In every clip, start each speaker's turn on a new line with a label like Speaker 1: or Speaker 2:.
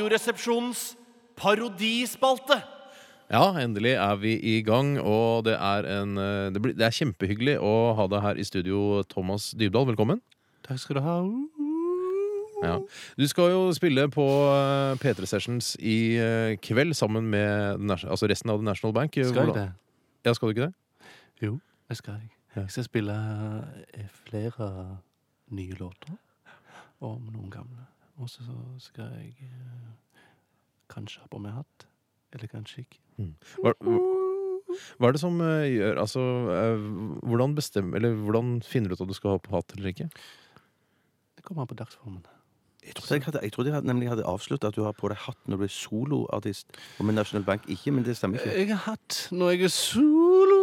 Speaker 1: Radioresepsjonens parodispalte.
Speaker 2: Ja, endelig er vi i gang, og det er, en, eh, det blir, det er kjempehyggelig å ha deg her i studio, Thomas Dybdahl. Velkommen.
Speaker 1: Takk skal du ha.
Speaker 2: Ja. Du skal jo spille på eh, P3 Sessions i eh, kveld sammen med den nas- altså resten av The National Bank.
Speaker 3: Skal jeg
Speaker 2: Hvordan-
Speaker 3: det?
Speaker 2: Ja, skal du ikke det?
Speaker 3: Jo, jeg skal. jeg.
Speaker 2: Ja.
Speaker 3: Jeg skal spille eh, flere nye låter og noen gamle. Og så skal jeg eh, kanskje ha på meg hatt. Eller kanskje ikke.
Speaker 2: Hva, hva er det som eh, gjør Altså, eh, hvordan bestemmer Eller hvordan finner du ut om du skal ha på hatt eller ikke?
Speaker 3: Det kommer an på dagsformen.
Speaker 4: Jeg trodde jeg, hadde, jeg trodde jeg hadde, nemlig hadde avsluttet at du har på deg hatt når du er soloartist. Og med National Bank ikke, men det stemmer ikke.
Speaker 3: Jeg har hatt når jeg er solo.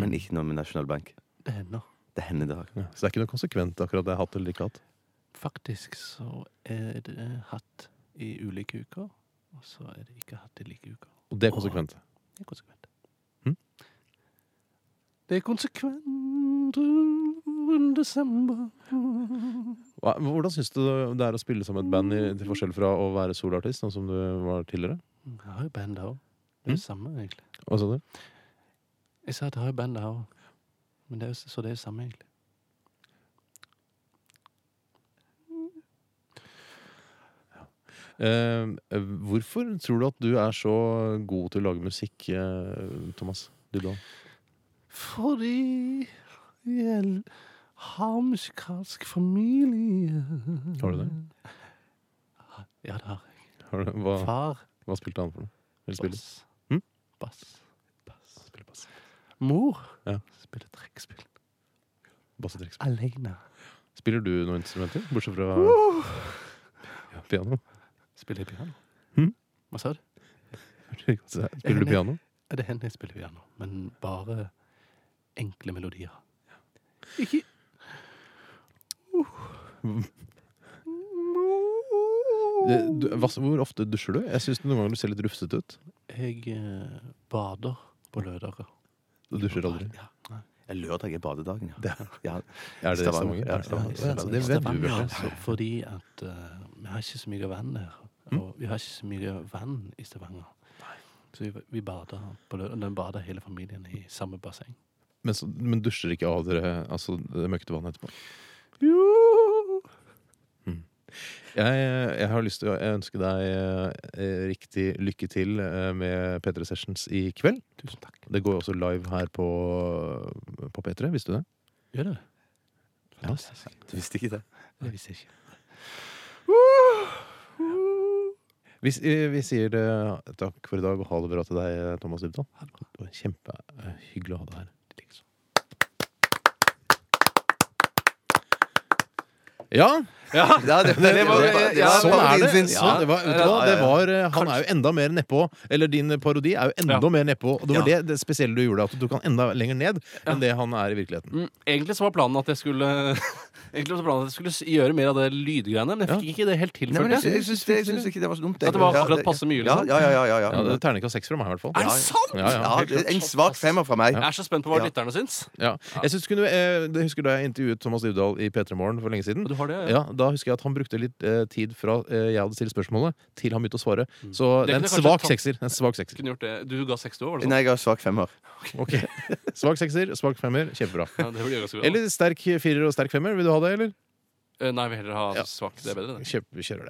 Speaker 4: Men ikke noe med National Bank.
Speaker 3: Det hender.
Speaker 4: Det hender det.
Speaker 2: Ja. Så det er ikke noe konsekvent akkurat det er hatt eller ikke hatt?
Speaker 3: Faktisk så er det hatt i ulike uker, og så er det ikke hatt i like uker.
Speaker 2: Og det er konsekvent.
Speaker 3: Det er konsekvent. Mm.
Speaker 2: Hm?
Speaker 3: Det er konsekvent rundt desember.
Speaker 2: Hva, hvordan syns du det er å spille som et band, i, til forskjell fra å være soloartist, sånn som du var tidligere?
Speaker 3: Mm, Jeg har jo band her òg. Det er det samme, egentlig.
Speaker 2: Hva sa du?
Speaker 3: Jeg sa at jeg har jo band her òg. Men det er jo, så det er det samme, egentlig.
Speaker 2: Eh, hvorfor tror du at du er så god til å lage musikk, eh, Thomas Dybdahl?
Speaker 3: Fordi jeg har musikalsk familie.
Speaker 2: Har du det?
Speaker 3: Ja, det har jeg.
Speaker 2: Har du, hva,
Speaker 3: Far.
Speaker 2: hva spilte han for noe? Eller spiller?
Speaker 3: Bass. Mm.
Speaker 2: Hm?
Speaker 3: Bass. Bass. Mor
Speaker 2: Ja.
Speaker 3: spiller trekkspill.
Speaker 2: Bassetrekk.
Speaker 3: Aleine.
Speaker 2: Spiller du noen instrumenter, bortsett fra ja, piano?
Speaker 3: Spiller jeg piano?
Speaker 2: Hm?
Speaker 3: Hva sa du?
Speaker 2: Spiller du piano?
Speaker 3: Ja, Det hender jeg spiller piano, men bare enkle melodier. Ikke
Speaker 2: Det, du, hva, hvor ofte dusjer du? Jeg syns noen ganger du ser litt rufsete ut.
Speaker 3: Jeg eh, bader på lørdager.
Speaker 2: Du dusjer aldri.
Speaker 3: Ja.
Speaker 4: Jeg lørdag er badedagen, ja. ja.
Speaker 2: Er det i Stavanger?
Speaker 4: Stavanger. Ja,
Speaker 2: Er det Stavanger?
Speaker 4: Stavanger.
Speaker 2: Ja, Det vet du,
Speaker 3: Ja,
Speaker 2: Bjarte.
Speaker 3: altså, fordi at eh, vi har ikke så mye vann her. Og vi har ikke så mye vann i Stavanger. Så vi, vi bader på lørdag. Den bader hele familien i samme basseng.
Speaker 2: Men, så, men dusjer ikke av dere altså, det møkkete vannet etterpå? Mm. Jeg, jeg har lyst til å ønske deg eh, riktig lykke til eh, med P3 Sessions i kveld.
Speaker 3: Tusen takk.
Speaker 2: Det går jo også live her på, på P3, visste du det?
Speaker 3: Gjør det? Fantastisk.
Speaker 4: Du visste ikke det?
Speaker 3: Det visste jeg ikke.
Speaker 2: Vi, s- eh, vi sier eh, takk for i dag og ha det bra til deg, eh, Thomas Dybdahl.
Speaker 3: Ha det bra.
Speaker 2: Det var kjempehyggelig å ha deg her.
Speaker 3: Liksom.
Speaker 2: Ja,
Speaker 4: Ja, det, det, var- ja,
Speaker 2: sånn er det.
Speaker 4: din sin-
Speaker 2: Sånn, det var, vet du hva? Det var, eh, han er jo enda mer nedpå. Eller din parodi er jo enda
Speaker 5: Ja.
Speaker 2: mer nedpå. Og det var
Speaker 5: Ja.
Speaker 2: det, det spesielle du gjorde, at du tok han enda lenger ned enn det han er i virkeligheten.
Speaker 5: Mm, egentlig så var planen at jeg skulle Egentlig så var planen at jeg skulle s- gjøre mer av det lydgreiene, men jeg fikk ikke det helt
Speaker 4: Nei, men
Speaker 5: tilført.
Speaker 4: jeg,
Speaker 5: jeg.
Speaker 4: jeg, syns, jeg syns ikke det var så dumt.
Speaker 5: At det var
Speaker 4: Ja,
Speaker 5: akkurat passe mye,
Speaker 4: Ja,
Speaker 5: liksom?
Speaker 4: ja, ja. ja, ja, ja.
Speaker 2: Ja, det er Terningkast seks fra meg, i hvert fall.
Speaker 5: Er det sant?!
Speaker 2: Ja, ja.
Speaker 4: Ja, det er en svak femmer fra meg.
Speaker 5: Jeg er så spent på hva
Speaker 4: Ja.
Speaker 5: lytterne syns.
Speaker 2: Ja. Jeg synes kunne, eh, det husker da jeg intervjuet Thomas Dybdahl i P3 Morgen for lenge siden.
Speaker 5: Og Du har det, ja.
Speaker 2: Ja, Da husker jeg at han brukte litt eh, tid fra eh, jeg hadde stilt spørsmålet, til han begynte å svare.
Speaker 5: Mm.
Speaker 2: Så
Speaker 5: Det
Speaker 2: det er en
Speaker 5: kunne kanskje
Speaker 2: svak
Speaker 5: tatt-
Speaker 2: sekser. En svak sekser.
Speaker 5: Kunne gjort det. Du ga seks, du òg, var det sånn?
Speaker 4: Nei, jeg har svak femmer.
Speaker 2: Ok. Svak sekser, svak femmer. Kjempebra.
Speaker 5: Ja, det burde jeg ganske bra.
Speaker 2: Eller sterk firer og sterk femmer. Vil du ha det, eller?
Speaker 5: Eh, Nei, jeg vil heller ha
Speaker 2: Ja.
Speaker 5: svak. Det er bedre, det.
Speaker 2: Kjøp, vi kjører det.